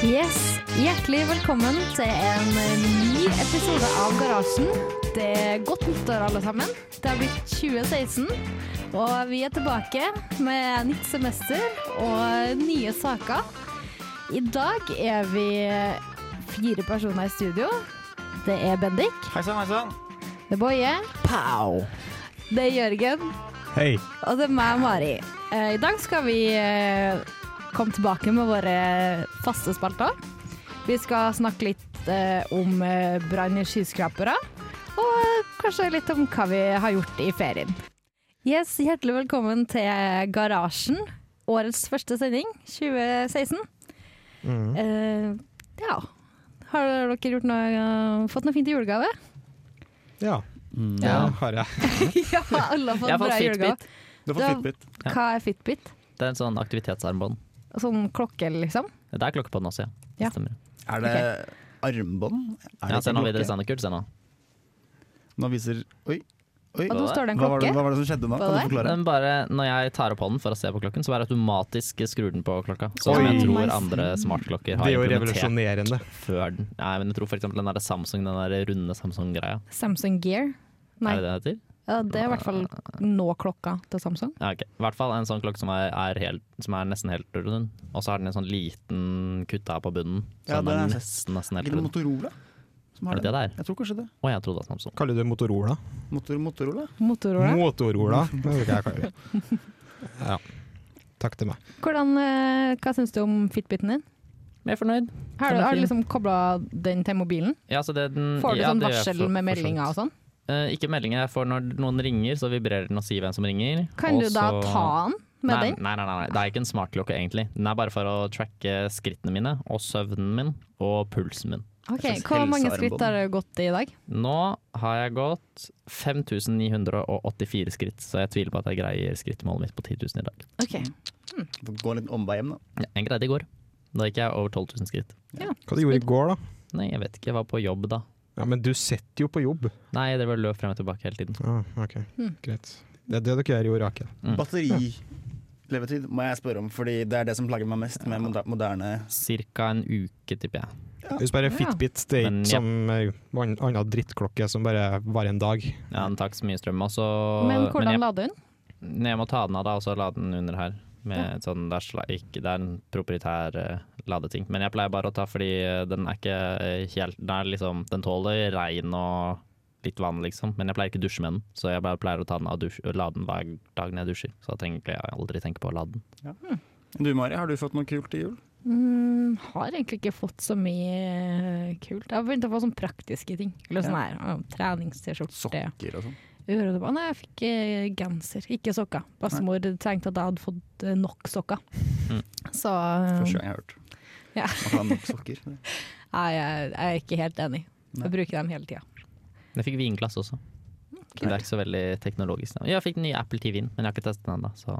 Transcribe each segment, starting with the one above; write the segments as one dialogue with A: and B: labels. A: Yes, Hjertelig velkommen til en ny episode av Garasjen. Det er godt nyttår, alle sammen. Det har blitt 2016, og vi er tilbake med nytt semester og nye saker. I dag er vi fire personer i studio. Det er Bendik,
B: Hei sann, hei sann.
A: det er Boje,
C: Pow!
A: det er Jørgen
B: Hei.
A: Og det er meg, Mari. Eh, I dag skal vi eh, komme tilbake med våre faste spalter. Vi skal snakke litt eh, om eh, brann i skyskrapere, og eh, kanskje litt om hva vi har gjort i ferien. Yes, Hjertelig velkommen til Garasjen. Årets første sending, 2016.
B: Mm.
A: Eh, ja. Har dere gjort noe, eh, fått noe fint i julegave?
C: Ja, det
B: Ja.
C: har jeg.
A: ja, alle har fått,
B: Jeg har fått
A: bra julegave.
B: Fitbit.
C: Du
A: Da-
C: får Fitbit.
B: Ja.
A: Hva er Fitbit?
B: Det er en sånn aktivitetsarmbånd.
A: Sånn klokke, liksom?
B: Det er klokke på den også, ja. Det
A: Ja.
B: Stemmer.
D: Er det armbånd? Er
B: Ja,
D: det
B: se nå
D: ikke
B: videre,
D: klokke?
B: se nå kult, se nå.
D: Nå viser Oi, oi.
A: Og nå står det en
D: Hva var, det,
A: klokke.
D: hva var det som skjedde nå?
A: Hva
D: Kan du
A: var
D: forklare?
B: Men bare når jeg tar opp hånden for å se på klokken, så bare automatisk skrur den på klokka. Sånn som
C: Oi.
B: jeg tror
A: Nice.
B: andre smartklokker
C: Det
B: har
C: er jo
B: implementert
C: revolusjonerende.
B: før den. Nei, men jeg tror for eksempel den der Samsung, den der runde Samsung-greia.
A: Samsung Gear? Nei.
B: Er det det den heter?
A: Ja, det er i hvert fall nå klokka til Samsung.
B: Ja, ok. I hvert fall en sånn klokke som er, er, helt, som er nesten helt rund. Og så har den en sånn liten kutta på bunnen.
D: Ja,
B: Som
D: det
B: er
D: er-
B: nesten, nesten
D: Er
B: helt
D: ikke det
B: rund.
D: Motorola som
B: Er
D: har
B: det det
D: det?
B: der?
D: Jeg tror kanskje det.
B: Å, jeg trodde det var Samsung.
C: Kaller du det Motorola?
D: Motor, Motorola?
A: Motorola.
C: Motorola. Det er jo ikke jeg kaller det. Ja. Takk til meg.
A: Hvordan, eh, hva syns du om fitbiten din?
B: Mer fornøyd.
A: Har du,
B: Den er
A: har du
B: fin.
A: liksom kobla den til mobilen?
B: Ja, så det, den,
A: Får du
B: Mm, ja,
A: sånn
B: det gjør jeg
A: varsel
B: for-
A: med
B: for så vidt.
A: meldinger og sånn?
B: Eh, ikke meldinger. Jeg får når noen ringer, så vibrerer den og sier hvem som ringer.
A: Kan
B: og
A: du da
B: så-
A: ta den med
B: nei,
A: den?
B: Nei, nei, nei, nei. Det er ikke en smartklokke, egentlig. Den er bare for å tracke skrittene mine, og søvnen min, og pulsen min.
A: Ok,
D: Jeg synes
A: Hvor mange
D: helsearmbånd.
A: skritt har du gått i i dag?
B: Nå har jeg gått 5984 skritt, så jeg tviler på at jeg greier skrittmålet mitt på 10 000 i dag.
A: Ok,
D: Gå en liten omvei hjem, da.
B: Ja, jeg greide det i går. Da gikk jeg over 12 000 skritt.
C: Hva du gjorde i går, da?
B: Nei, jeg vet ikke. Jeg var på jobb da.
C: Ja, Men du sitter jo på jobb.
B: Nei, det var løp frem og tilbake hele tiden.
C: Ah, ok,
A: Hmm.
C: greit. Det er det dere gjør i Orakel.
B: Mm.
D: Batterilevetid må jeg spørre om, fordi det er det som plager meg mest med moder- moderne
B: Cirka en uke, tipper jeg.
C: Hvis bare
A: Ja.
C: Fitbit det er
B: Men,
C: ikke
B: ja.
C: som ei anna drittklokke som bare varer en dag.
B: Ja, den tar ikke så mye strøm. Og så-
A: Men
B: jeg-
A: hvordan lader hun?
B: Nei, Jeg må ta den av da, og så lade den under her. Med et sånn, det, er sla, ikke, det er en proprietær eh, ladeting. Men jeg pleier bare å ta fordi eh, den er ikke eh, helt Den, er liksom, den tåler regn og litt vann, liksom. Men jeg pleier ikke å dusje med den, så jeg bare pleier å ta den av dusj, og lade den hver dag når jeg dusjer. Så da trenger jeg aldri tenke på å lade den.
D: Du Mari, har du fått noe kult til jul?
A: Mm, har egentlig ikke fått så mye eh, kult. Jeg har begynt å få sånne praktiske ting. Eller sånn her, ja, Trenings-T-skjorte.
D: Sokker og sånn.
A: Øret og bare, Nei, jeg fikk eh, genser, ikke sokker. Bestemor tenkte at jeg hadde fått eh, nok sokker.
B: Mm.
A: Så eh,
D: Første gang jeg har hørt.
A: Ja.
D: Man kan ha nok sokker.
A: nei, jeg, jeg er ikke helt enig.
D: Nei.
A: Jeg bruker dem hele tida.
B: Men Jeg fikk vinglass også. Det er ikke så veldig teknologisk. da. Jeg fikk den nye Apple TV-en, men jeg har ikke testet den ennå. Så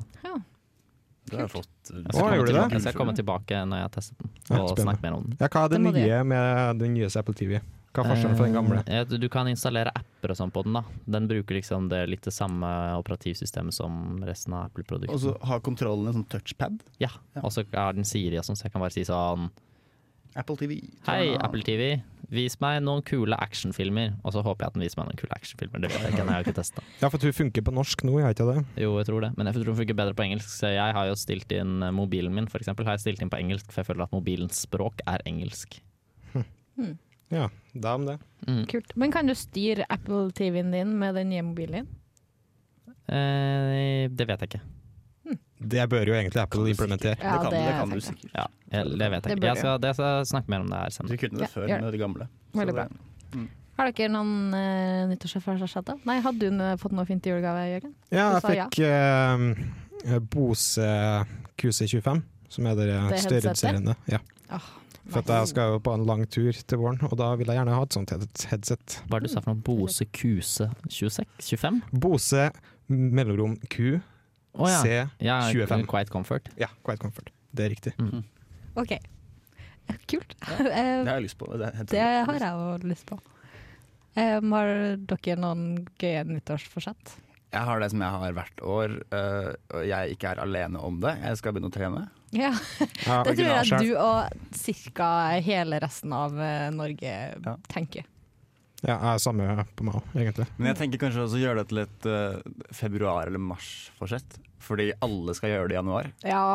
D: Du har fått eh,
B: jeg
C: Å,
B: skal, komme
C: gjorde du
B: tilbake,
C: det?
B: jeg skal komme tilbake når jeg har testet den,
C: Ja,
B: og
C: spennende.
B: snakke mer om den.
C: Ja, hva er det
A: Det må du
C: nye med den nye Apple TV? Hva er forskjellen fra den gamle?
B: Eh, Du kan installere apper og sånn på den. da Den bruker liksom det litt det samme operativsystemet som resten av Apple-produktene.
D: Og så har kontrollen en sånn touchpad.
B: ja. Og så er den Siri og sånn, så jeg kan bare si sånn
D: Apple TV.
B: Hei, Apple TV, vis meg noen kule actionfilmer. Og så håper jeg at den viser meg noen kule actionfilmer. Det vet jeg ikke, den har jeg jo ikke testa.
C: Ja, for at hun funker på norsk nå, gjør hun ikke det?
B: Jo, jeg tror det. Men jeg tror den funker bedre på engelsk. Så jeg har jo stilt inn eh, mobilen min, for eksempel, har jeg stilt inn på engelsk, for jeg føler at mobilens språk er engelsk.
C: Ja, da om det.
B: Mm.
A: mm, Kult. Men kan du styre Apple TV-en din med den nye mobilen din?
B: Eh, det vet jeg ikke.
C: Det bør jo egentlig Apple implementere.
D: Det kan, det kan du
A: tenker jeg.
D: sikkert.
B: Ja, jeg, det vet
A: Det bør
B: jeg ikke. Jeg skal, det skal jeg snakke mer om det her
D: Du
B: senere.
D: kunne det
A: Ja,
D: før
A: gjør det.
D: med det gamle. Så
A: Veldig bra.
D: det-
A: Har dere noen uh, nyttårsforsetter? Nei, hadde hun eh, fått noe fint i julegave, Jørgen?
C: Ja,
A: Du
C: jeg
A: sa
C: fikk eh, Bose eh, QC25, som er det
A: Det headsetet?
C: størrelsesserende. Ja, for at jeg skal jo på en lang tur til våren, og da vil jeg gjerne ha et sånt head- headset.
B: Hva er det du sa
A: Mm.
B: for noe? Bose Kuse 26? 25?
C: Bose mellomrom Q,
B: Å ja.
C: C,
B: ja.
C: 25.
B: Quiet Comfort. Mm.
C: ja, Quiet Comfort. Det er riktig.
A: OK. Kult. Eh,
D: Det har jeg lyst på. Det, er
A: det
D: helt sikkert.
A: har jeg jo lyst på. Eh, har dere noen gøye nyttårsforsett?
D: Jeg har det som jeg har hvert år, øh, og jeg ikke er alene om det. Jeg skal begynne å trene.
A: Ja,
C: Ja,
A: det tror jeg at
C: originalsjef.
A: du og cirka hele resten av eh, Norge tenker.
C: Ja, jeg er samme på meg òg, egentlig.
D: Men jeg tenker kanskje også gjøre det til et øh, februar- eller mars-forsett. Fordi alle skal gjøre det i januar.
A: Ja.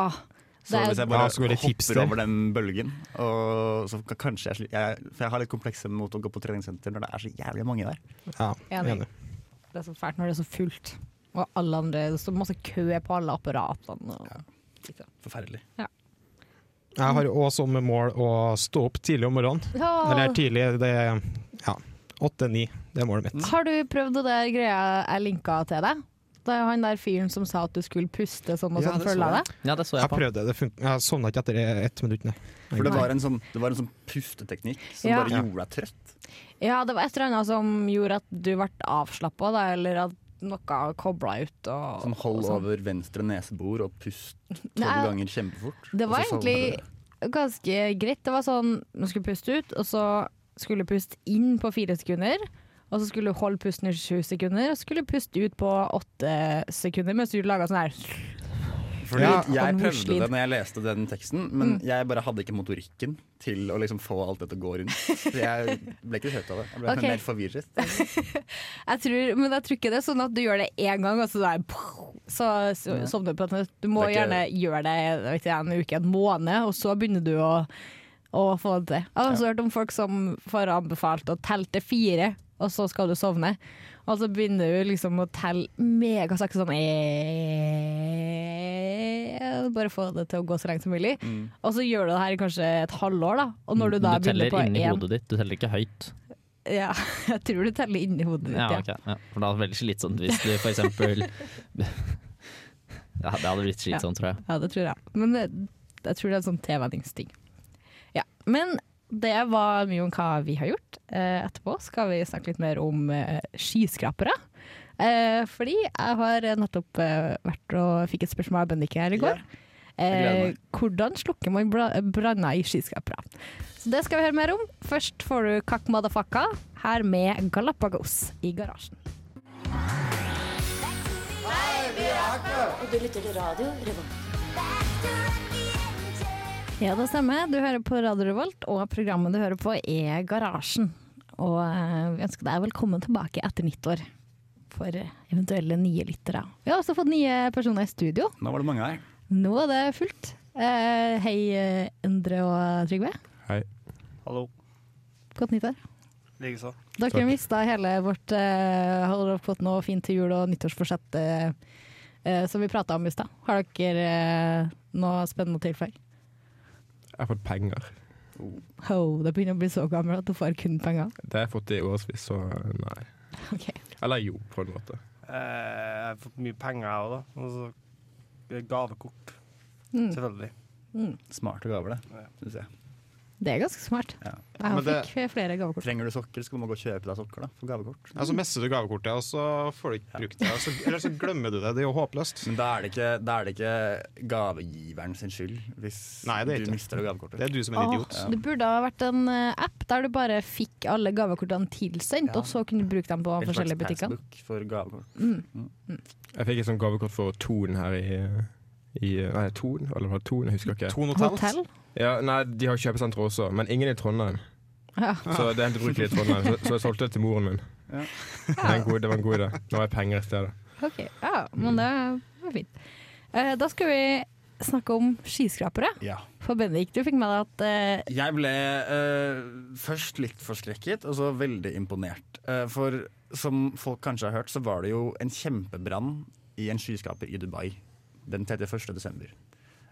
D: Så hvis jeg
C: Ja,
D: bare
C: så går det
D: hopper
C: hipster.
D: over den bølgen og så kan- kanskje jeg, sli- jeg For jeg har litt komplekser mot å gå på treningssenter når det er så jævlig mange der.
C: Ja,
A: Enig.
C: enig.
A: Det er så fælt når det er så fullt. Og alle andre, det står masse kø på alle apparatene. Og,
D: Forferdelig.
C: Jeg har òg som mål å stå opp tidlig om morgenen. Eller tidlig, det er ja, åtte-ni. Det er målet mitt.
A: Har du prøvd det der greia jeg linka til deg? Det er han der fyren som sa at du skulle puste sånn og
D: Ja,
A: sånn,
D: det så
A: følger jeg
D: jeg.
A: det?
B: Ja, det så
C: Jeg
B: jeg på.
C: prøvde det, det funka. Jeg sovna ikke etter ett minutt, nei.
D: For det var en sånn, det var en sånn pusteteknikk som
A: Ja.
D: bare
C: Ja.
D: gjorde deg trøtt.
A: Ja, det var et eller annet som gjorde at du ble avslappa, da, eller at noe kobla ut og
D: Som hold
A: og sånn.
D: over venstre nesebor og pust tolv
A: Nei,
D: ganger kjempefort.
A: Det
D: og
A: var
D: så sovner
A: egentlig
D: du.
A: ganske greit. Det var sånn man skulle puste ut, og så skulle du puste inn på fire sekunder. Og så skulle du holde pusten i sju sekunder, og så skulle du puste ut på åtte sekunder mens du laga sånn her.
D: Fordi
C: Ja,
D: Jeg
A: han
D: prøvde
A: muslin.
D: det når jeg leste den teksten, men
A: Mm.
D: jeg bare hadde ikke motorikken til å liksom få alt dette til å gå rundt. Så jeg ble ikke trøtt av det. Jeg ble
A: Ok.
D: mer forvirret.
A: Jeg tror, men jeg tror ikke det er sånn at du gjør det én gang, og så, der, pow, så, så
D: Nei.
A: sovner du på det. Du må
D: Det er ikke-
A: gjerne gjøre det jeg vet ikke, en uke, en måned, og så begynner du å, å få det til. Jeg har også hørt om folk som får anbefalt å telle til fire, og så skal du sovne. Og så begynner du liksom å telle megasakte sånn eh, Bare få det til å gå så langt som mulig. Og så gjør du det her i kanskje et halvår, da. Og når du da begynner
B: Mm, teller
A: på
B: inni
A: én
B: hodet ditt, du teller ikke høyt.
A: ja, Jeg tror du teller inni hodet ditt,
B: Ja, ok. Ja. For da er det veldig slitsomt hvis du for eksempel Ja, det hadde blitt slitsomt, tror jeg.
A: Ja, det tror jeg. Men det, jeg tror det er en sånn tilvenningsting. Ja, men det var mye om hva vi har gjort. Eh, etterpå skal vi snakke litt mer om eh, skyskrapere. Eh, fordi jeg har nettopp eh, vært og fikk et spørsmål av Bendike her i går.
D: gleder
A: Eh,
D: meg.
A: hvordan slukker man bla- branner i skyskrapere? Så det skal vi høre mer om. Først får du Kakk Madafakka her med Galapagos i garasjen.
E: Og du lytter til radio Revolt.
A: Ja, det stemmer. Du hører på Radio Revolt, og programmet du hører på er Garasjen. Og eh, vi ønsker deg velkommen tilbake etter nyttår for eventuelle nye lyttere. Vi har også fått nye personer i studio.
D: Nå var det mange her.
A: Nå er det fullt. Eh, hei, eh, Endre og Trygve.
F: Hallo.
A: Godt nyttår.
F: Likeså.
A: Dere mista hele vårt eh, Har dere fått noe fint til jul- og nyttårsforsett eh, eh, som vi prata om i stad? Har dere eh, noe spennende å tilføye?
G: Jeg har fått penger.
A: Ho, det begynner å bli så gammel at du får kun penger.
G: Det har jeg fått i årevis, så nei.
A: Ok.
G: Eller jo, på en måte.
F: Eh, jeg har fått mye penger, jeg òg, da. Og så gavekort. Selvfølgelig.
D: Smarte gaver, det. Synes jeg.
A: Det er ganske smart.
D: Ja.
A: Jeg
C: Men det-
A: fikk flere gavekort.
D: Trenger du sokker, så kan man gå og kjøpe deg sokker da, for gavekort.
C: Ja, så mister Altså, du gavekortet, og så får du ikke brukt det. og så- Eller så glemmer du det. Det er jo håpløst.
D: Men da er det ikke, da er det ikke gavegiveren sin skyld hvis
C: Nei, det
D: du
C: er ikke.
D: mister det gavekortet.
C: Det er du som er en idiot.
A: Åh, det burde ha vært en eh, app der du bare fikk alle gavekortene tilsendt,
D: Ja.
A: og så kunne du bruke dem på
D: En slags
A: forskjellige butikker. Mm.
D: passbook for gavekort.
G: Jeg fikk et sånt gavekort for Ton her i, i Nei, Ton? Eller var det Ton? Jeg husker ikke.
C: Tone
A: Hotell?
G: Ja, nei, De har kjøpesenter også, men ingen i Trondheim.
A: Ja.
G: Så det er helt brukelig i Trondheim, så, så jeg solgte det til moren min. Det, er en god, det var en god idé. Nå har jeg penger i stedet.
A: Ok, ja, men det var fint. Eh, da skal vi snakke om skyskrapere.
D: Ja.
A: For Bendik, du fikk med deg at eh,
D: Jeg ble eh, først litt forskrekket, og så veldig imponert. Eh, for som folk kanskje har hørt, så var det jo en kjempebrann i en skyskraper i Dubai den 31. desember.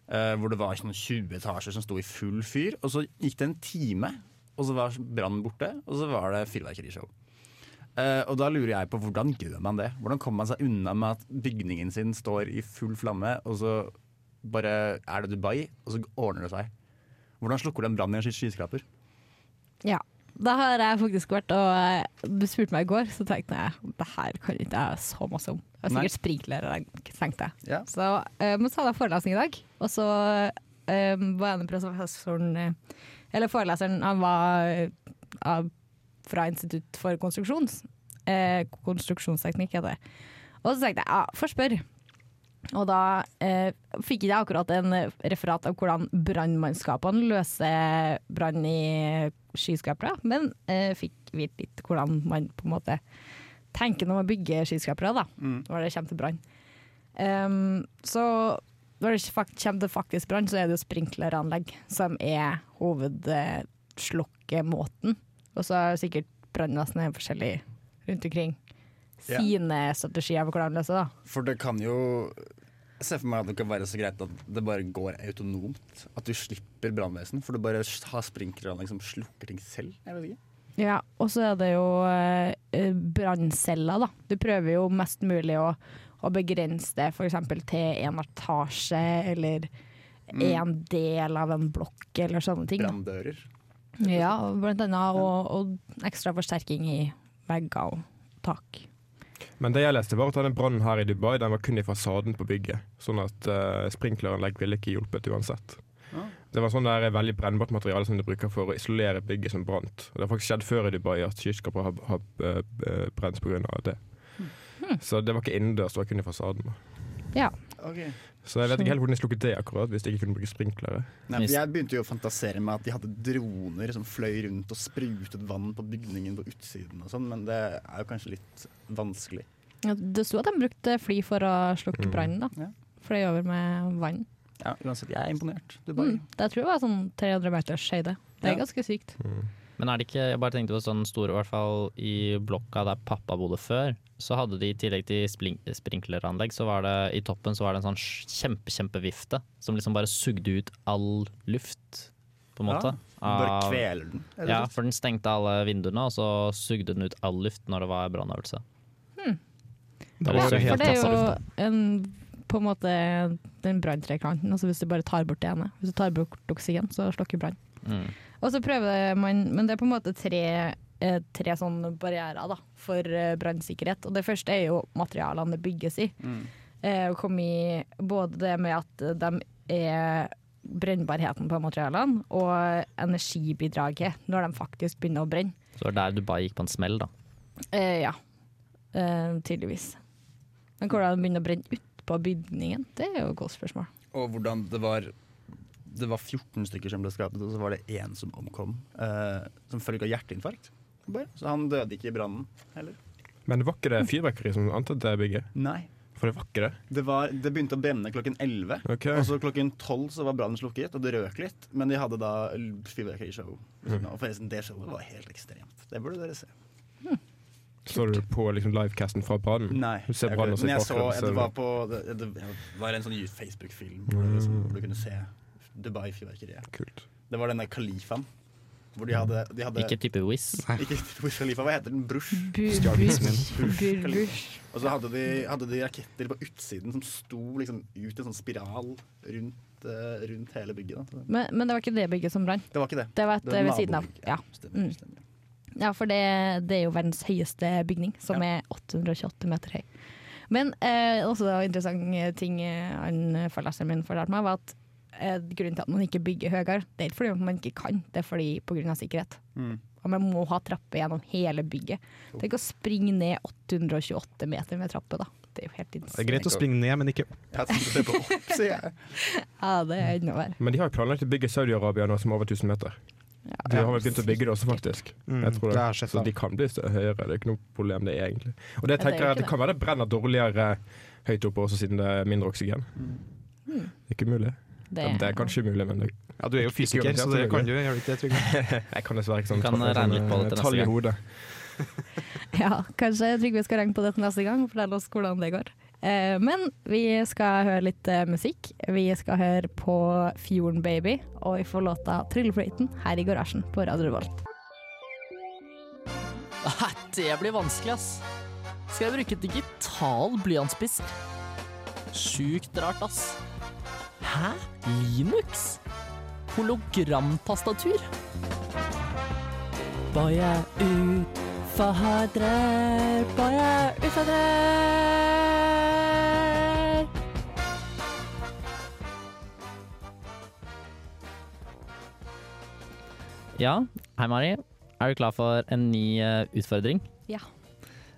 D: Eh, hvor det var sånn 20 etasjer som sto i full fyr, og så gikk det en time, og så var brannen borte, og så var det fyrverkerishow. Eh, og da lurer jeg på hvordan gjør man det? Hvordan kommer man seg unna med at bygningen sin står i full flamme, og så bare er det Dubai, og så ordner det seg? Hvordan slukker du en brann i en skys- skyskraper?
A: Ja. Da har jeg faktisk vært og eh, Du spurte meg i går, så tenkte jeg det her kan ikke jeg så masse om. Jeg har
D: Nei.
A: sikkert sprinkler, tenkte jeg.
D: Ja.
A: Så eh, må ta deg forelesning i dag. Og så eh, var en professoren eh, Eller foreleseren, han var eh, av, fra Institutt for konstruksjons. eh, konstruksjonsteknikk heter det. Og så tenkte jeg ja, forspør. Og da eh, fikk jeg akkurat en eh, referat av hvordan brannmannskapene løser brann i skyskrapere, men eh, fikk vite litt hvordan man på en måte tenker når man bygger skyskrapere, da, når det kommer til brann. Ehm, så når det fak- kommer til faktisk brann, så er det jo sprinkleranlegg som er hovedslokkemåten. Og så har sikkert brannvesenet forskjellig rundt omkring
D: Ja.
A: sine strategier for hvordan de løser det. da.
D: For det kan jo Jeg ser for meg at det kan være så greit at det bare går autonomt. At du slipper brannvesen, for du bare har sprinkleranlegg som slukker ting selv. Jeg vet ikke.
A: Ja, og så er det jo eh, brannceller, da. Du prøver jo mest mulig å, å begrense det f.eks. til en etasje eller
D: Mm.
A: en del av en blokk eller sånne ting. da.
D: Branndører.
A: Ja, og blant annet. Og, og ekstra forsterking i vegger og tak.
G: Men det jeg leste var at denne brannen her i Dubai Den var kun i fasaden på bygget. Sånn at uh, sprinkleranlegg ville ikke hjulpet uansett.
D: Ah.
G: Det var sånn der veldig brennbart materiale som de bruker for å isolere bygget som brant. Og Det har faktisk skjedd før i Dubai at skyskrapere har, har eh, eh, brent pga. det.
D: Hm.
G: Så det var ikke innendørs, det var kun i fasaden.
A: Ja.
G: Så jeg vet ikke helt hvordan de slukket det akkurat, hvis de ikke kunne bruke sprinklere.
D: Nei, for jeg begynte jo å fantasere med at de hadde droner som fløy rundt og sprutet vann på bygningen på utsiden og sånn, men det er jo kanskje litt vanskelig.
A: Det sto at de brukte fly for å slukke brannen.
D: Mm. Ja.
A: da. Fløy over med vann.
D: Ja, uansett, jeg er imponert.
A: Mm. Det tror jeg var sånn 300 meters høyde. Det er
D: Ja.
A: ganske sykt.
B: Men er det ikke, jeg bare tenkte på sånn store, i hvert fall i blokka der pappa bodde før, så hadde de i tillegg til spring- sprinkleranlegg, så var det i toppen så var det en sånn sj- kjempe, kjempevifte som liksom bare sugde ut all luft, på en
D: Ja,
B: måte.
D: Du bare
B: Av-
D: kveler den. rett og
B: Ja,
D: slett.
B: for den stengte alle vinduene, og så sugde den ut all luft når det var brannøvelse.
C: Da
B: Det er
C: var det
B: så-
A: For
C: helt
A: det er
C: tatt
A: jo
C: av
A: en, på en måte den branntrekanten. Altså hvis du bare tar bort det ene. Hvis du tar bort oksygen, så slukker brann.
B: Mm.
A: Og så prøver man, men det er på en måte tre, eh, tre sånne barrierer da, for eh, brannsikkerhet. Og det første er jo materialene det bygges i. Eh, og kom i både det med at de er brennbarheten på materialene, og energibidraget når de faktisk begynner å brenne.
B: Så det var der Dubai gikk på en smell, da.
A: Eh, ja, eh, tydeligvis. Men hvordan de begynner å brenne utpå bygningen, det er jo et godt spørsmål.
D: Og hvordan det var Det var 14 stykker som ble skadet, og så var det én som omkom eh, som følge av hjerteinfarkt. Bare. Så han døde ikke i brannen heller.
G: Men det var ikke det
D: Hm.
G: fyrverkeri som antet det bygget?
D: Nei.
G: For det var ikke det.
D: Det, var, det begynte å brenne klokken 11.
G: Ok.
D: Og så klokken 12 så var brannen slukket, og det røk litt. Men de hadde da l- fyrverkerishow. Mm. Og forresten, det showet var helt ekstremt. Det burde dere se.
G: Så du på liksom livecasten fra brannen?
D: Nei.
G: Du ser
D: jeg
G: brannen
D: gjorde
G: og
D: ikke
G: ser
D: det. Men jeg så
G: bakgrunnen,
D: det
G: så-
D: var på Det, det, det var en sånn Facebook-film hvor, det liksom, hvor du kunne se Dubai-fyrverkeriet.
G: Kult.
D: Det var den der Khalifaen. Hvor de hadde, de hadde
B: Ikke type Wizz.
D: Ikke Burj Khalifa, hva heter den? Brush?
A: Burbusj.
D: Og så hadde de, hadde de raketter på utsiden som sto liksom ut i en sånn spiral rundt, eh, rundt hele bygget. Da.
A: Men, men det var ikke det bygget som brant.
D: Det var ikke det.
A: Det var et eh,
D: var
A: ved siden av.
D: nabobygget.
A: Ja.
D: Stemmer,
A: Mm.
D: stemmer.
A: Ja, for det, det er jo verdens høyeste bygning, som er 828 meter høy. Men eh, også en interessant ting eh, han foreleseren min fortalte meg, var at eh, grunnen til at man ikke bygger høyere, det er ikke fordi man ikke kan, det er fordi pga. sikkerhet.
D: Mm.
A: Og man må ha trappe gjennom hele bygget. Tenk å springe ned 828 meter med trappe, da. Det er jo helt
C: Det er
A: insane.
C: greit å springe ned, men ikke opp.
D: Jeg hadde tenkt å se på opp, sier jeg.
A: Ja, det er enda verre.
G: Men de har jo planlagt å bygge Saudi-Arabia nå som er over 1000 meter. De har vel begynt å bygge det også, faktisk.
C: Mm,
G: Jeg tror
C: det
G: det.
C: har jeg sett,
G: Så
C: da.
G: de kan bli stø- høyere, det er ikke noe problem det er egentlig.
A: Ja,
G: Og det
A: det er jo
G: tenker jeg at
A: ikke
G: det kan være det brenner dårligere høyt oppe også, siden det er mindre oksygen.
A: Mm.
G: Det er ikke mulig.
A: Det,
G: Ja, Det er kanskje mulig, men det,
C: Ja, du er jo fysiker,
G: garantert,
C: så det
G: selvfølgelig.
C: kan du gjøre ikke det, Trygve.
G: jeg kan dessverre ikke sånn
B: Du kan
G: ta-
B: regne litt på det til
G: tall
B: neste
G: i
B: gang.
G: hodet.
A: Ja, kanskje Trygve skal regne på dette neste gang og fortelle oss hvordan det går. Eh, Men vi skal høre litt eh, musikk. Vi skal høre på Fjorden Baby, og vi får låta 'Tryllefløyten' her i garasjen på Radio Revolt.
H: Nei, det blir vanskelig, ass. Skal jeg bruke digital blyantspiss? Sjukt rart, ass. Hæ? Linux? Hologramtastatur? Bare utfordrer, bare utfordrer.
B: Ja, hei Mari. Er du klar for en ny eh, utfordring?
A: Ja.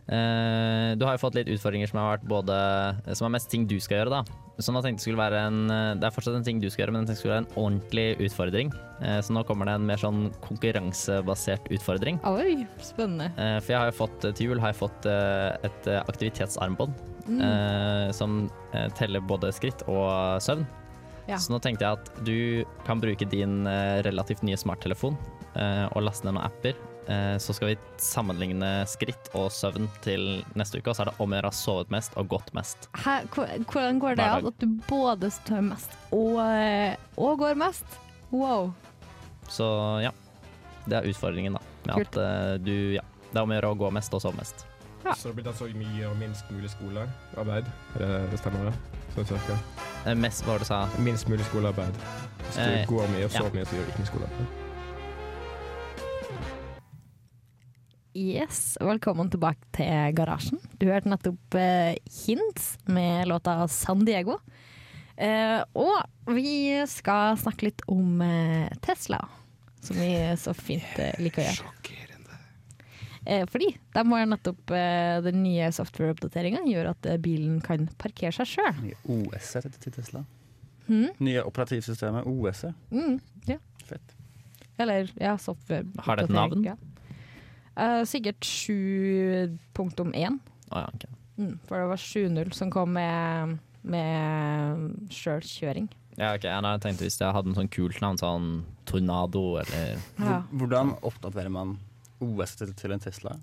B: Eh, du har jo fått litt utfordringer som har vært både eh, Som er mest ting du skal gjøre, da. Så nå tenkte jeg skulle være en eh, Det er fortsatt en ting du skal gjøre, men jeg tenkte det skulle være en ordentlig utfordring. Eh, så nå kommer det en mer sånn konkurransebasert utfordring.
A: Oi, spennende.
B: Eh, for jeg har jo fått til jul har jeg fått eh, et eh, aktivitetsarmbånd
A: Mm.
B: eh, som eh, teller både skritt og søvn.
A: Ja.
B: Så nå tenkte jeg at du kan bruke din eh, relativt nye smarttelefon eh, og laste ned noen apper. Eh, så skal vi sammenligne skritt og søvn til neste uke, og så er det om å gjøre å ha sovet mest og gått mest.
A: Hæ, hvor- hvordan går det
B: Hver
A: an
B: dag.
A: at du både står mest og, eh, og går mest? Wow.
B: Så ja, det er utfordringen, da. Med
A: Kult.
B: at eh, du Ja. Det er om å gjøre å gå mest og sove mest.
A: Ja.
G: Så det blir altså mye og minst mulig skolearbeid? Er det, det stemmer, det? Sånn cirka.
B: Eh, mest, hva var det du sa?
G: Minst mulig skolearbeid. Hvis du
B: Eh,
G: går mye og
B: ja.
G: sover mye, så gjør du ikke mye skolearbeid.
A: Yes, velkommen tilbake til garasjen. Du hørte nettopp eh, Hints med låta San Diego. Eh, og vi skal snakke litt om eh, Tesla, som vi så fint eh, liker å gjøre.
C: Sjokkerende.
A: Eh, fordi de har nettopp eh, den nye software-oppdateringa gjør at eh, bilen kan parkere seg sjøl.
D: Nye OS-et heter det til Tesla.
A: Hmm?
D: Nye operativsystemet OS-et.
A: Mm,
D: Fett.
A: eller ja, software.
B: Har det et navn?
A: Ja. Eh, sikkert 7.1.
B: Å ja, ok.
A: Mm, for det var 7.0 som kom med, med sjølkjøring.
B: Ja, ok. Ja, nei, Jeg tenkte hvis jeg hadde en sånn kult navn, sånn Tornado eller
A: Ja.
D: Hvor- Hvordan oppdaterer man OS-et til en Tesla?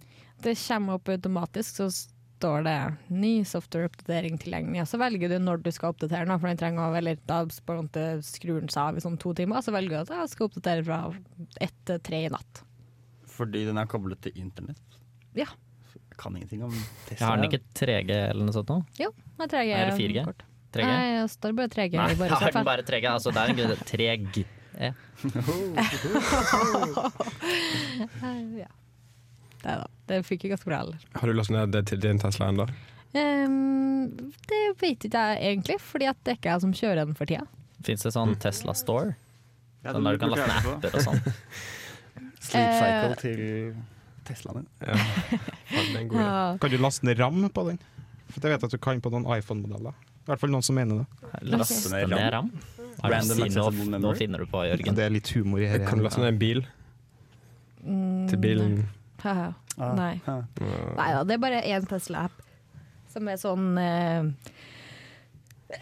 A: Det kommer opp automatisk, så står det 'ny software-oppdatering tilgjengelig'. Og så velger du når du skal oppdatere, den, for den trenger å- eller da på en måte skrur den seg av i sånn to timer. Så velger du at jeg skal oppdatere fra ett til tre i natt.
D: Fordi den er koblet til internett?
A: Ja.
D: Jeg kan ingenting om
B: Jeg
D: Tesla.
B: har den ikke 3G eller noe sånt nå?
A: Nå trenger jeg
B: Er det 4G?
A: kort.
B: 3G?
A: Nei, det står bare 3G.
B: Nei,
A: i bare
B: jeg har
A: software.
B: den bare 3G. Altså, det er en grunn til 3G.
A: Ja. Nei da, det fikk jeg ganske bra heller.
G: Har du lastet ned det til din Tesla ennå?
A: Ehm, det vet ikke jeg egentlig, fordi at det er ikke jeg som kjører den for tida.
B: Fins det sånn Tesla Store?
D: Ja,
B: Sånn der du kan laste ned apper og sånn.
D: Sleep cycle
A: Eh.
D: til Teslaen din.
G: Ja. Ja, det er en god idé.
C: Kan du laste ned ram på den? For det vet jeg at du kan på noen iPhone-modeller. I hvert fall noen som mener det.
B: Laste
D: Ok.
B: ned RAM? Har du
D: Random
B: si nå,
D: accessible
B: nå
D: memory?
B: finner du på,
C: Ja,
B: Jørgen.
C: det er litt humor i
G: Kan du laste ned en bil
A: Mm,
G: til bilen?
A: haha.
D: Ah.
A: Nei.
D: Ah.
A: Nei da, det er bare én Tesla-app som er sånn eh,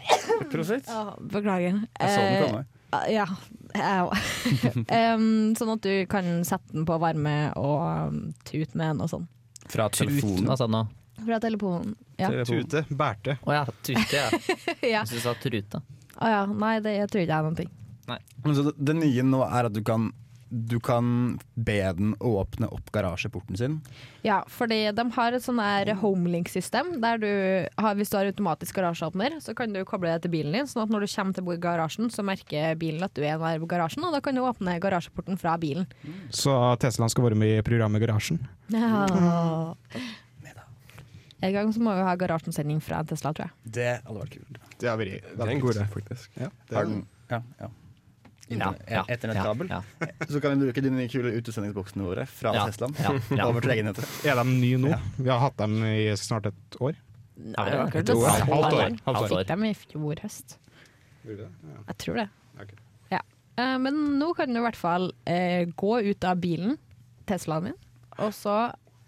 D: Prosit.
A: ah, Beklager.
D: Jeg så den
A: Eh,
D: komme.
A: Ah, Ja, jeg òg. sånn at du kan sette den på varme og um, tute med den og sånn.
B: Fra telefonen, altså nå.
A: Fra telefonen. Ja.
C: Tute, bærte.
B: Å ja, trute, ja.
A: ja.
B: Hvis du sa trute.
A: Å ja. Nei, det jeg tror ikke jeg er noen ting.
D: Men så det, det nye nå er at du kan, du kan be den å åpne opp garasjeporten sin.
A: Ja, fordi de har et sånn her homelink-system. Der du har, hvis du har automatisk garasjeåpner, så kan du koble det til bilen din. Sånn at når du kommer til garasjen, så merker bilen at du er nær garasjen, og da kan du åpne garasjeporten fra bilen.
C: Så Teslaen skal være med i programmet Garasjen.
A: Ja. En gang så må vi ha garasjensending fra en Tesla, tror jeg.
D: Det hadde vært kult.
C: Det har vært
G: Det er en god idé, faktisk.
C: Ja, det
D: Har den ja, ja.
B: Ja,
D: Internett-
B: ja,
D: Etternetkabel.
B: Ja,
D: Så kan vi bruke de nye kule utesendingsboksene våre fra
B: ja,
D: Teslaen
B: ja, ja.
D: over til egennettet.
C: Er de nye nå?
D: Ja.
C: Vi har hatt dem i snart et år.
A: Nei, det var ikke
B: Et år.
A: det.
C: Halvt år.
B: Halvt år.
A: Fikk dem i fjor høst. Jeg tror det.
C: Ok.
A: Ja. Eh, men nå kan du i hvert fall eh, gå ut av bilen, Teslaen din, og så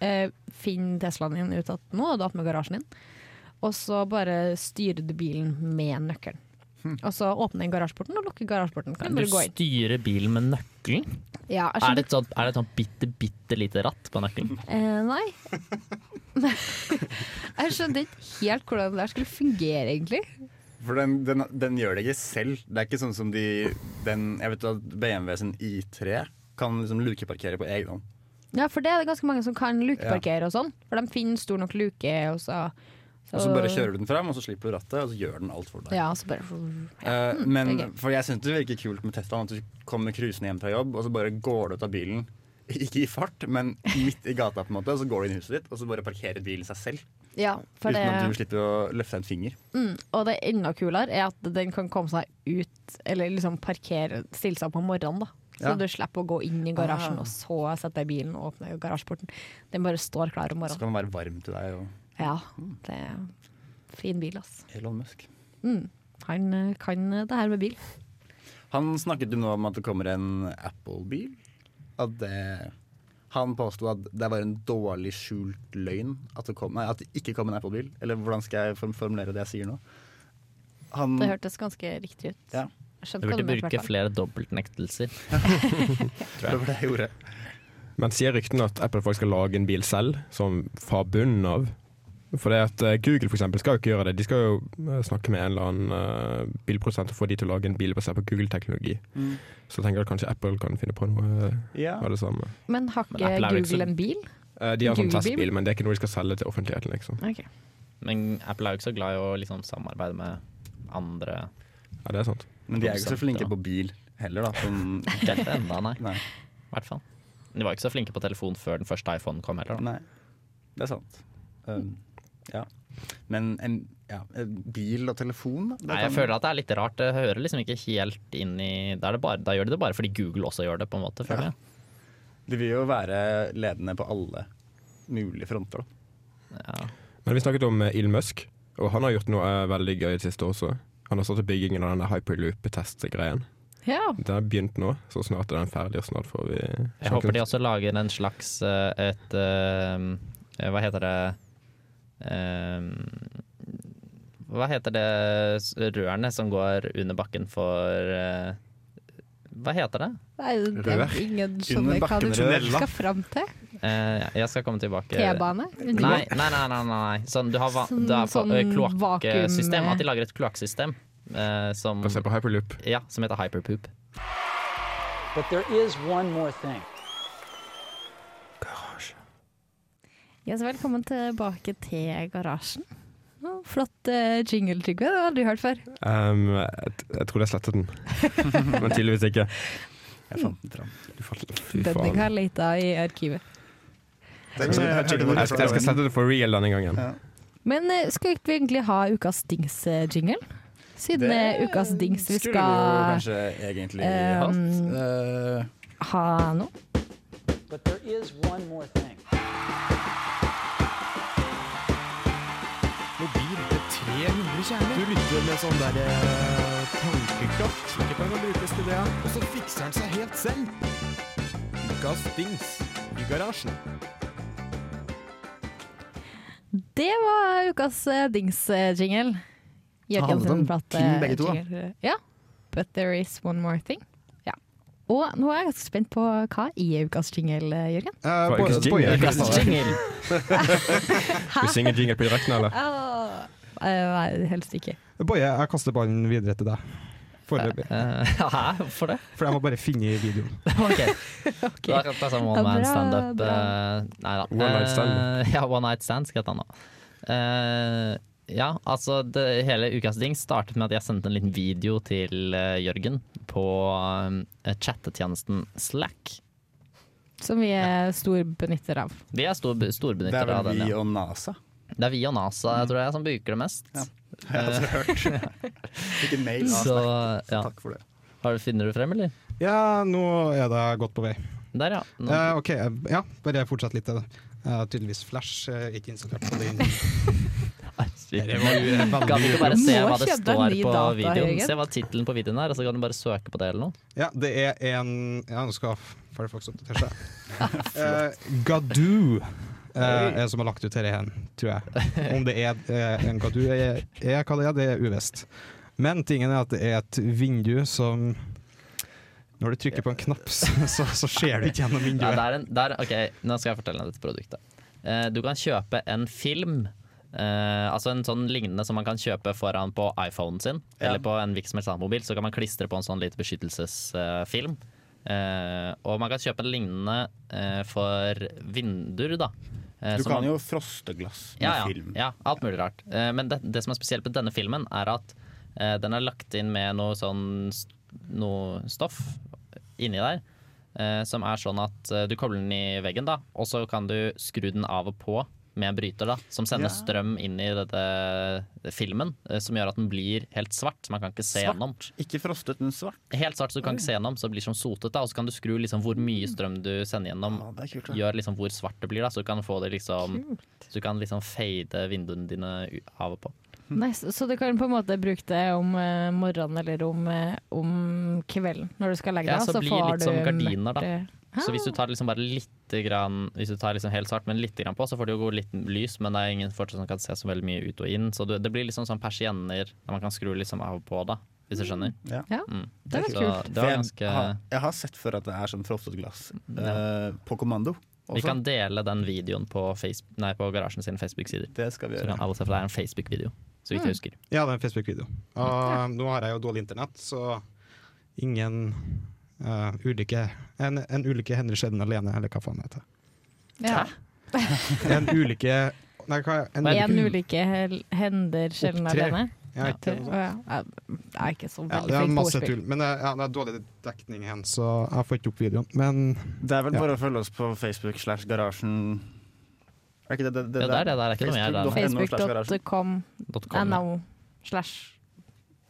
A: eh, finner Teslaen din ut at nå er du attmed garasjen din, og så bare styrer du bilen med nøkkelen. Og så åpner den garasjeporten og lukker garasjeporten. Kan du
B: Du
A: bare gå inn.
B: styrer bilen med nøkkelen?
A: Ja, jeg
B: Er
A: skjønner.
B: det et sånt, er det et sånt bitte, bitte lite ratt på nøkkelen?
A: Eh, nei. jeg skjønte ikke helt hvordan det der skulle fungere, egentlig.
D: For den, den, den gjør det ikke selv. Det er ikke sånn som de den, Jeg vet at BMW sin I3 kan liksom lukeparkere på egen hånd.
A: Ja, for det er det ganske mange som kan lukeparkere og sånn. For de finner stor nok luke, og så
D: Og så bare kjører du den fram, og så slipper du rattet, og så gjør den alt for deg.
A: Ja, så bare
D: Eh,
A: Hmm, det er
D: men
A: gøy.
D: for jeg syns det virker kult med Teslaen at du kommer cruisende hjem fra jobb, og så bare går du ut av bilen. Ikke i fart, men midt i gata, på en måte. Og så går du inn i huset ditt, og så bare parkerer bilen seg selv.
A: Ja, for
D: uten at du
A: det,
D: slipper å løfte en finger.
A: mm, og det er enda kulere er at den kan komme seg ut, eller liksom parkere, stille seg på morgenen, da. Så
D: Ja.
A: du slipper å gå inn i garasjen
D: Ah.
A: og så sette deg i bilen og åpne garasjeporten. Den bare står klar om
D: Så
A: morgenen.
D: kan den være varm til deg og
A: Ja, det er en fin bil, ass.
D: Elon Musk.
A: Mm. Han eh, kan det her med bil.
D: Han snakket jo nå om at det kommer en Apple-bil. At det Han påsto at det var en dårlig skjult løgn at det, kom, nei, at det ikke kom en Apple-bil. Eller hvordan skal jeg form- formulere det jeg sier nå? Han,
A: Det hørtes ganske riktig ut.
D: Ja.
A: Jeg skjønte
B: Du
A: hva
B: burde
A: du mente, i
B: bruke
A: hvert fall.
B: flere dobbeltnektelser.
D: det var det jeg gjorde.
G: Men sier ryktene at Apple faktisk skal lage en bil selv, som fra bunnen av? For det at eh, Google for eksempel, skal jo ikke gjøre det. De skal jo eh, snakke med en eller annen eh, bilprodusent og få de til å lage en bil basert på Google-teknologi.
D: Mm.
G: Så tenker jeg at kanskje Apple kan finne på noe eh,
D: Ja.
G: av det samme.
A: Men har
B: Men Apple
A: ikke
B: er jo ikke så-
A: Google en bil?
G: Eh, De har sånn
A: Google-bil?
G: testbil, men det er ikke noe de skal selge til offentligheten. liksom.
A: Ok.
B: Men Apple er jo ikke så glad i å liksom samarbeide med andre.
G: Ja, det er sant.
D: Men de er jo ikke så flinke på bil heller, da. Som,
B: Ikke helt enda, nei.
D: nei,
B: I hvert fall. De var ikke så flinke på telefon før den første iPhonen kom heller. Da.
D: nei. Det er sant. Um, ja. Men en, ja, en bil og telefon, da? Det
B: Nei, jeg
D: kan-
B: føler at det er litt rart. Det hører liksom ikke helt inn i Da, er det bare, da gjør de det bare fordi Google også gjør det, på en måte, føler
D: Ja.
B: jeg.
D: De vil jo være ledende på alle mulige fronter, da.
B: Ja.
G: Men vi snakket om eh, Elon Musk, og han har gjort noe eh, veldig gøy i det siste også. Han har startet byggingen av denne hyperloop-test-greien.
A: Ja.
G: Den har begynt nå, så snart er den ferdig, og snart får vi eh,
B: Jeg håper de også lager en slags eh, et eh, Hva heter det Eh, Hva heter det s- rørene som går under bakken for eh, Hva heter det?
A: Nei, det
G: Rør.
A: er ingen skjønner hva du
D: bakkenrør.
A: skal fram til.
B: Eh, jeg skal komme tilbake.
A: T-bane?
B: Nei, nei, nei. nei, nei. Sånn, du har, va- du har
A: Sånn-
B: eh,
A: sånn
B: kloakksystem.
A: vakuum-
B: At de lager et kloakksystem eh, som,
G: Basert på hyperloop.
B: ja, som heter hyperpoop.
I: But there is one more thing.
A: Ja, så velkommen tilbake til garasjen. Å, Flott eh, jingle, Trygve. Det har jeg aldri hørt før.
G: Um, jeg, jeg tror jeg slettet den, men tydeligvis ikke.
D: Jeg fant den fram.
G: Du falt- Fy
A: Bendik har leta i arkivet.
G: Jeg skal, jeg skal sette det for real denne gangen.
D: Ja.
A: Men eh, skal ikke vi egentlig ha ukas dings-jingle? Siden det er ukas dings vi
D: Skulle vi jo
A: skal
D: kanskje egentlig
A: eh,
D: hatt.
A: um,
D: Eh,
A: ha nå.
I: But there is one more thing.
A: Det var ukas eh, dings-jingle.
D: Det handlet om ting begge to, da.
A: Ting, ja. But there is one more thing. Ja. Og nå er jeg ganske spent på hva i ukas jingle, eh, Jørgen.
C: Eh,
G: Var
C: på-
G: ikke
C: på-
G: jingle.
B: Ukas sånn jingle.
G: Skal vi synge jingle på direkten, eller?
A: Eh, Nei, helst ikke.
C: Boje, jeg kaster ballen videre til deg. Foreløpig.
B: Eh, Hæ, hvorfor det?
C: For jeg må bare finne videoen.
B: Ok. Da kan jeg ta sånn one
A: Ja,
B: man
A: bra,
B: standup.
A: bra.
B: eh, Nei da.
G: One night stand.
B: Eh, Ja, one night stand skal jeg ta nå. Eh, ja, altså det, hele ukas ding startet med at jeg sendte en liten video til eh, Jørgen på eh, chattetjenesten Slack.
A: Som vi er stor benytter av.
B: Vi er stor,
D: Det er
B: storbenyttere av
D: vel
B: den.
D: vi
B: Ja.
D: og NASA.
B: Det er vi og NASA jeg tror jeg, som bruker det mest.
D: Ja. Jeg har hørt. Ikke mail.
B: Eh, Så ja.
D: Takk for det.
B: Har du, finner du frem, eller?
C: Ja, nå er det godt på vei.
B: Der, ja. Nå,
C: Eh, ok, eh, ja, bare fortsett litt til det. Eh, tydeligvis Flash eh, ikke installert på din. Det var jo eh,
B: kan vi
C: veldig
B: ikke bare se
A: Må
B: hva det
A: kjøpe deg
B: står
A: ny
B: på
A: data,
B: videoen?
A: Jørgen.
B: Se hva tittelen på videoen er, og så kan du bare søke på det eller noe.
C: Ja, det er en Ja, nå skal Firefox oppdatere seg. Eh, Gadoo eh, er som har lagt ut dette her, tror jeg. Om det er eh, en Gadoo er, er hva det er, det er uvisst. Men tingen er at det er et vindu som Når du trykker på en knapp, så, så, så ser du ikke gjennom
B: Ja, det
C: vinduet.
B: er en, det er- ok, nå skal jeg fortelle deg dette produktet. Eh, du kan kjøpe en film, eh, altså en sånn lignende som man kan kjøpe foran på iPhonen sin,
D: Ja.
B: eller på en hvilken som helst annen mobil, så kan man klistre på en sånn liten beskyttelsesfilm. Eh, og man kan kjøpe en lignende eh, for vinduer, da. Eh,
D: Du
B: så
D: kan
B: man-
D: jo froste glass med
B: ja, ja,
D: film.
B: Ja, alt mulig rart. Eh, Men det, det som er spesielt med denne filmen, er at eh, den er lagt inn med noe sånn st- noe stoff inni der. eh, som er sånn at eh, du kobler den i veggen, da, og så kan du skru den av og på med en bryter, da, som sender
D: Ja.
B: strøm inn i dette filmen, eh, som gjør at den blir helt svart. så Man kan ikke se
D: Svart?
B: gjennom.
D: Ikke frostet, men svart.
B: Helt svart, så du kan ikke se gjennom, så det blir som sotet. da, Og så kan du skru liksom hvor mye strøm du sender gjennom.
D: Mm. Ja, det er kult, da.
B: Gjør liksom hvor svart det blir, da, så du kan få det liksom Så du kan liksom fade vinduene dine u- av og på.
A: Nice. Så du kan på en måte bruke det om eh, morgenen eller om, eh, om kvelden når du skal legge deg.
B: Ja, så
A: og
B: blir
A: får
B: litt som
A: du
B: gardiner, da.
A: mørkt, eh,
B: Så hvis du
D: Ah.
B: tar liksom bare litt grann, Hvis du tar liksom helt svart, men litt grann på, så får det jo gå litt lys, men det er ingen fortsatt som kan se så veldig mye ut og inn. Så du, det blir liksom sånn persienner der man kan skru liksom av og på, da, hvis du skjønner.
A: Ja,
B: Mm.
A: det var
B: Så
A: kult.
B: det var
D: jeg,
B: ganske
D: har, jeg har sett før at det er sånn frostet glass
B: Ja.
D: eh, på kommando. Også.
B: Vi kan dele den videoen på, Facebook, nei, på Garasjen sine Facebook-sider.
D: Det skal vi
B: Så
D: gjøre.
B: kan alle se, for det er en Facebook-video,
D: Mm.
B: så vidt jeg husker.
C: Ja, det er en Facebook-video. Og nå har jeg jo dårlig internett, så ingen eh, ulykke En, en ulykke hender sjelden alene, eller hva faen det heter.
A: Ja.
C: En ulykke Nei, hva en,
A: En
C: u-
A: ulykke hel- hender sjelden
C: Opptrer.
A: alene.
C: Ja, ikke-
A: Å, Ja, Ja, det er ikke så
C: ja,
A: veldig
C: det er
A: flink på
C: masse
A: ordspill.
C: tull. Men det, ja, det er dårlig dekning igjen, så jeg får ikke opp videoen. Men
A: Eh,
D: Det er vel bare å følge oss på Facebook slash Garasjen. Er ikke det det,
B: Ja, det er det der, det er ikke noe mer der.
D: Facebook.no slash garasjen.
A: Facebook.com
B: .com, ja.
A: no slash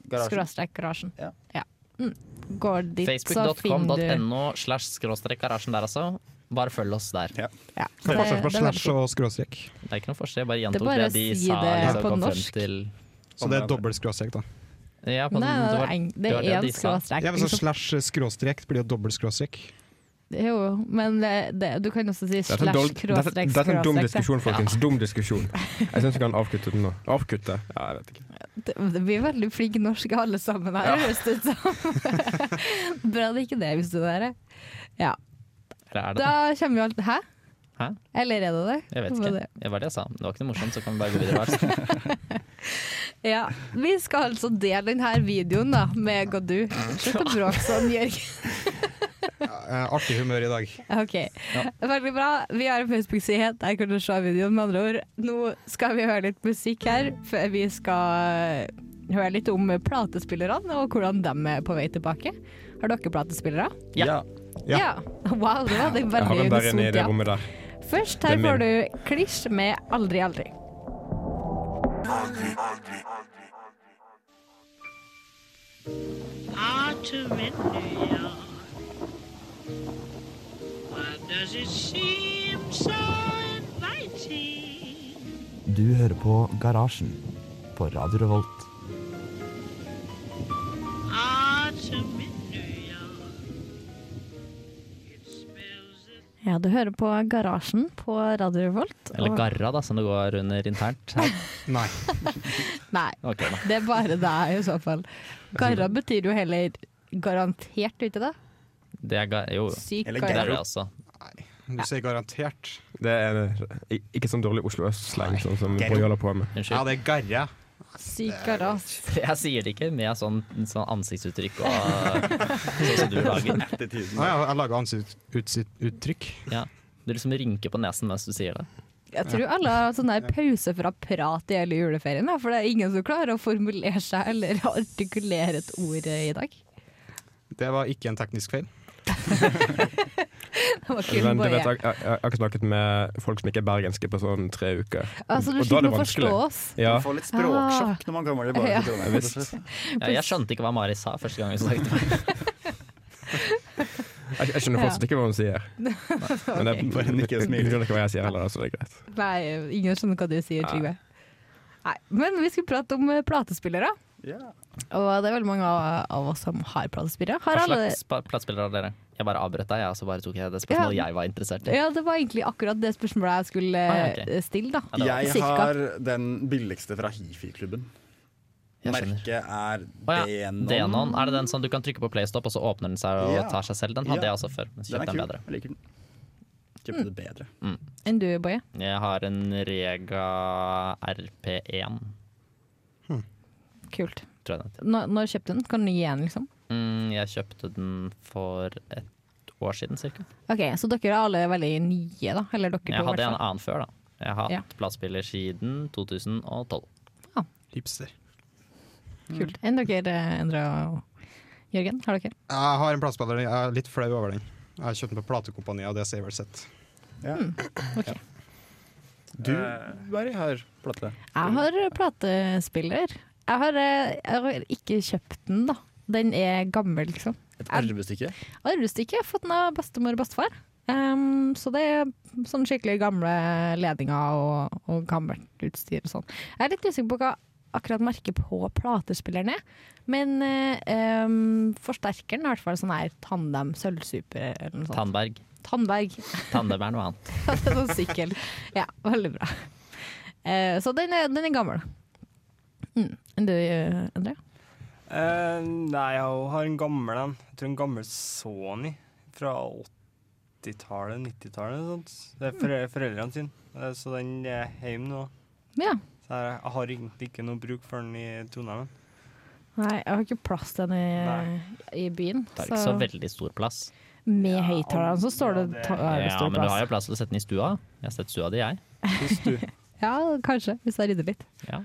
D: Garasjen.
A: skråstrek garasjen.
D: Ja.
A: Mm. Går dit, så finner du
B: Facebook.com.no slash skråstrek garasjen der altså. Bare følg oss der.
A: ja.
C: hva er
A: det-
C: forskjellen på
A: det er veldig
C: slash og skråstrek?
B: Det er ikke noe forskjell, jeg bare
A: Det er
B: gjentok
A: bare
B: det,
A: å
B: de
A: si
B: sa.
A: det
B: liksom,
A: på
B: kom frem
A: norsk.
B: til-
C: Så det er dobbelt skråstrek, da.
B: Ja,
A: Nei,
B: på den,
A: nei,
B: det
A: det
B: var,
A: er en- det
B: det var det
A: er én
B: de sa.
A: skråstrek.
C: Ja, men så slash skråstrek blir jo dobbelt skråstrek.
A: Jo, men det, det, du kan også si
G: Dette er, en
A: slash
G: dårlig- dette,
A: skråstrek
G: dette er en dum
A: skråstrek. det.
G: diskusjon, folkens. Dum diskusjon. Jeg syns vi kan avkutte den nå. Avkutte? Ja, jeg vet ikke.
A: Det- Vi er veldig flinke norske alle sammen her, høres det ut som. Bra det ikke er det, hvis du er det. Ja.
B: Eller er det det?
A: Da kommer jo alt Hæ?
B: Hæ?
A: Eller er det det?
B: Jeg vet
A: Hva
B: ikke.
A: det-
B: Det var det jeg sa. Det var ikke noe morsomt, så kan vi bare gå videre.
A: Ja. Vi skal altså dele denne videoen da, med Godu. Slutt å bråke sånn, Jørgen.
C: Eh, artig humør i dag.
A: Ok, veldig bra. Vi har en Facebook-side, der kan du se videoen med andre ord. Nå skal vi høre litt musikk her, før vi skal høre litt om platespillerne og hvordan de er på vei tilbake. Har dere platespillere?
B: Ja.
C: Ja.
A: Wow, det var det
G: Jeg har
A: veldig
G: en der inne i
A: unisont.
G: det
A: Ja.
G: rommet der.
A: Først her
G: Det
A: får
G: er
A: du Klisj med Aldri aldri.
J: Du hører på Garasjen på Radio Revolt.
A: Ja, du hører på Garasjen på Radio Revolt.
B: Eller Garra, da, som det går under internt. Her.
C: Nei.
A: Nei,
B: Ok, da.
A: det er bare deg i så fall. Garra betyr jo heller garantert, vet du det?
B: Det er ga jo, jo.
A: Syk
D: Eller
B: Det
A: garra.
B: er det også.
C: Du sier garantert.
G: Det er i- ikke sånn dårlig Oslo Øst-sleng sånn som Boje holder på med.
C: Ja,
B: Unnskyld.
C: det er garre.
A: Syk garra.
B: Jeg sier det ikke med sånn, sånn ansiktsuttrykk og sånn som du lager.
D: Attituden.
C: Nei, jeg lager ansiktsuttrykk.
B: Ja. Du liksom rynker på nesen mens du sier det.
A: Jeg tror alle har hatt sånn der pause fra prat i hele juleferien, da, for det er ingen som klarer å formulere seg eller artikulere et ord eh, i dag.
C: Det var ikke en teknisk feil.
A: Det var kun
G: Men du
A: bare
G: vet,
A: jeg.
G: jeg, jeg, jeg har ikke snakket med folk som ikke er bergenske på sånn tre uker.
A: Altså, du
G: og da er
A: sliter
G: det
A: med å forstå
G: vanskelig.
A: oss.
G: Ja,
D: Man får litt språksjokk når man kommer tilbake
A: Ja.
D: til Trondheim. rett og slett.
B: Ja, jeg skjønte ikke hva Mari sa første gang vi snakket. med henne.
G: jeg, jeg skjønner fortsatt ikke hva hun sier. Men det,
A: Ok.
G: hun skjønner ikke hva jeg sier heller, så det er greit.
A: Nei, ingen skjønner hva du sier, Trygve. Nei, men vi skulle prate om eh, platespillere,
D: Ja.
A: og det er veldig mange av- av oss som har platespillere. Har
B: Hva
A: alle
B: slags pa- platespillere har dere? Jeg bare avbrøt deg, ja, så bare tok jeg det spørsmålet
A: Ja.
B: jeg var interessert i.
A: ja, det var egentlig akkurat det spørsmålet jeg skulle
B: Ah, ja, ok.
A: eh, stille, da.
B: det var-
D: Jeg
A: Cirka.
D: har den billigste fra hifi-klubben.
B: Jeg skjønner.
D: Merket er
B: Å ja,
D: Denon.
B: Denon. Er det den som du kan trykke på PlayStop, og så åpner den seg og
D: Ja.
B: tar seg selv? Den hadde
D: Ja.
B: jeg også før, men så
D: Den er
B: kjøpte
D: kul.
B: den bedre.
D: Jeg liker den. Kjøpte det bedre.
A: Enn du, Boje?
B: Jeg har en Rega RP1,
A: Kult.
B: tror jeg den heter.
A: Når, når kjøpte du den? Kan du gi den, liksom?
B: Mm, jeg kjøpte den for et år siden, cirka.
A: Ok, Så dere er alle veldig nye, da? Eller dere to,
B: Jeg hadde
A: hvertfall.
B: en annen før, da. Jeg har
A: Ja.
B: hatt platespiller siden 2012.
C: Hipster.
A: Kult. Enn dere, Endre og Jørgen? Har dere?
C: Jeg har en platespiller, jeg er litt flau over den. Jeg har kjøpt den på platekompaniet, og det sier vel sitt.
D: Ja. Du, Mari, har plate.
A: Jeg har platespiller. Jeg har, eh, jeg har ikke kjøpt den, da. Den er gammel, liksom.
D: Et arvestykke.
A: Arvestikke har jeg fått den av bestemor og bestefar. Ehm, så det er sånn skikkelig gamle ledninger og, og gammelt utstyr og sånn. Jeg er litt usikker på hva akkurat merket på platespilleren er, men eh, ehm, forsterkeren er i hvert fall sånn her tandem sølvsuper eller noe sånt.
B: Tandberg.
A: Tandberg.
B: Tandem er noe annet.
A: det er sånn sykkel. Ja, veldig bra. Eh, så den er, den er gammel. Mm. Du, eh, André?
F: Eh, nei, jeg har en gammel en. Jeg tror en gammel Sony fra 80-tallet, 90-tallet. eller sånt. Det er fore foreldrene sine, Eh, så den er hjemme nå.
A: Ja.
F: Så jeg jeg har egentlig ikke noe bruk for den i Trondheim.
A: Nei, jeg har ikke plass til den i, i byen.
B: Tar ikke så veldig stor plass.
A: Med høyttaleren så står det ta- er det
B: Ja,
A: stor
B: men du har
A: plass.
B: jo plass til å sette den i stua. Jeg har sett stua di, jeg.
A: Ja, kanskje, hvis jeg rydder litt.
B: Ja.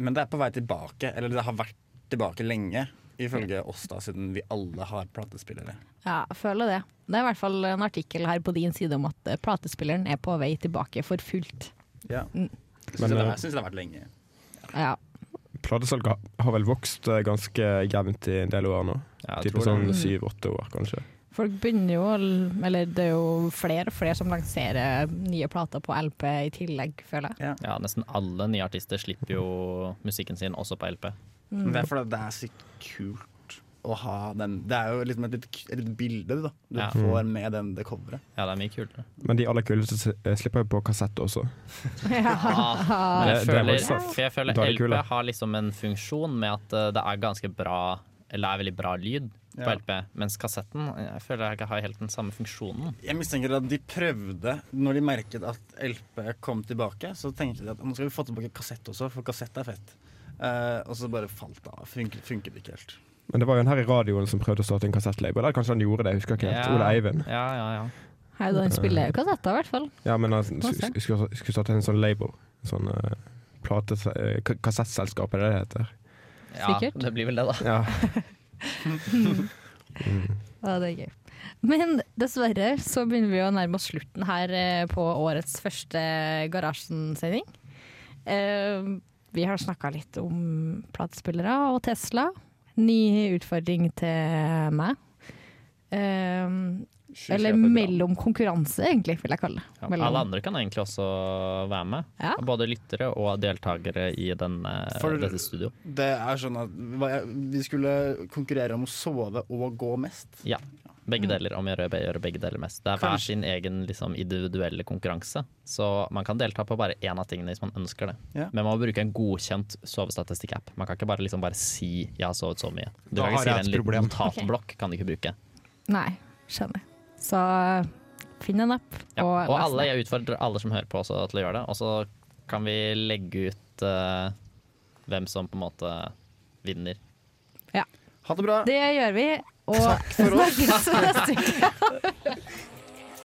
D: Men det er på vei tilbake, eller det har vært tilbake lenge, ifølge oss, da, siden vi alle har platespillere.
A: Ja, jeg føler det. Det er i hvert fall en artikkel her på din side om at eh, platespilleren er på vei tilbake for fullt.
D: Ja.
A: Mm.
D: Jeg syns
G: Men,
D: det,
G: eh,
D: jeg synes det har vært lenge.
A: Ja.
G: Platesalget har- har vel vokst eh, ganske jevnt i en del år nå.
B: Ja, jeg
G: Type
B: tror det.
G: sånn
A: Mm.
G: syv-åtte år, kanskje.
A: Folk begynner jo å l- Eller det er jo flere og flere som lanserer nye plater på LP i tillegg, føler jeg.
B: Ja, nesten alle nye artister slipper jo musikken sin også på LP.
D: Men det er fordi det er sykt kult å ha den. Det er jo liksom et litt, et litt bilde da, du
B: Ja.
D: får med den, det coveret.
B: Ja, det er mye kulere.
G: Men de aller kuleste s- eh, slipper jo på kassett også.
A: Ah.
B: Ah, Men jeg
G: Det- det er
B: føler,
G: faktisk sant.
B: for jeg føler
G: Da er det
B: LP
G: kule.
B: har liksom en funksjon med at eh, det er ganske bra Eller er veldig bra lyd på
D: Ja.
B: LP, mens kassetten jeg føler ikke har helt den samme funksjonen.
D: Jeg mistenker at de prøvde, når de merket at LP kom tilbake, så tenkte de at nå skal vi få tilbake kassett også, for kassett er fett. Eh, og så bare falt det av. Funket, funket ikke helt.
G: Men det var jo en her i radioen som prøvde å starte en kassettlabel. Eller kanskje han gjorde det, jeg husker ikke helt. Ole Eivind.
B: Ja, ja, ja.
A: Her, den spiller jo kassetter, i hvert fall.
G: Ja, men han
A: Hva sa
G: sk- skulle skulle starte en sånn label. En sånn eh, plates- eh, ka- kassettselskap, er det det heter?
B: ja
A: Sikkert.
B: det blir vel det, da.
G: Ja.
A: Ja, det er gøy. Men dessverre så begynner vi å nærme oss slutten her eh, på årets første Garasjen-sending. Eh, Vi har snakka litt om platespillere og Tesla. Ny utfordring til meg. Eh, Eller mellom konkurranse, egentlig, vil jeg kalle det.
B: Ja,
A: Mellom-
B: alle andre kan egentlig også være med.
A: Ja.
B: Både lyttere og deltakere i den, eh,
D: For-
B: dette studio.
D: Det er sånn at hva- vi skulle konkurrere om å sove og gå mest.
B: Ja.
C: Mm.
B: Begge deler, om å gjøre gjøre begge deler mest. Det er hver
D: Kanskje-
B: sin egen liksom, individuelle konkurranse. Så man kan delta på bare én av tingene hvis man ønsker det.
D: Ja.
B: Men man må bruke en godkjent sovestatistikk-app. Man kan ikke bare, liksom, bare si 'jeg har sovet så mye'. Du
C: Da
B: kan ikke
C: har jeg et
B: skrive en liten
C: problem.
B: notatblokk. Kan du ikke bruke.
A: Nei, skjønner. Så finn en app.
B: Ja.
A: og
B: Og
A: les
B: alle,
A: den.
B: jeg utfordrer alle som hører på også til å gjøre det. Og så kan vi legge ut eh, hvem som på en måte vinner.
D: Ha det bra!
A: Det gjør vi. Og
D: Takk for oss.
A: snakkes neste uke.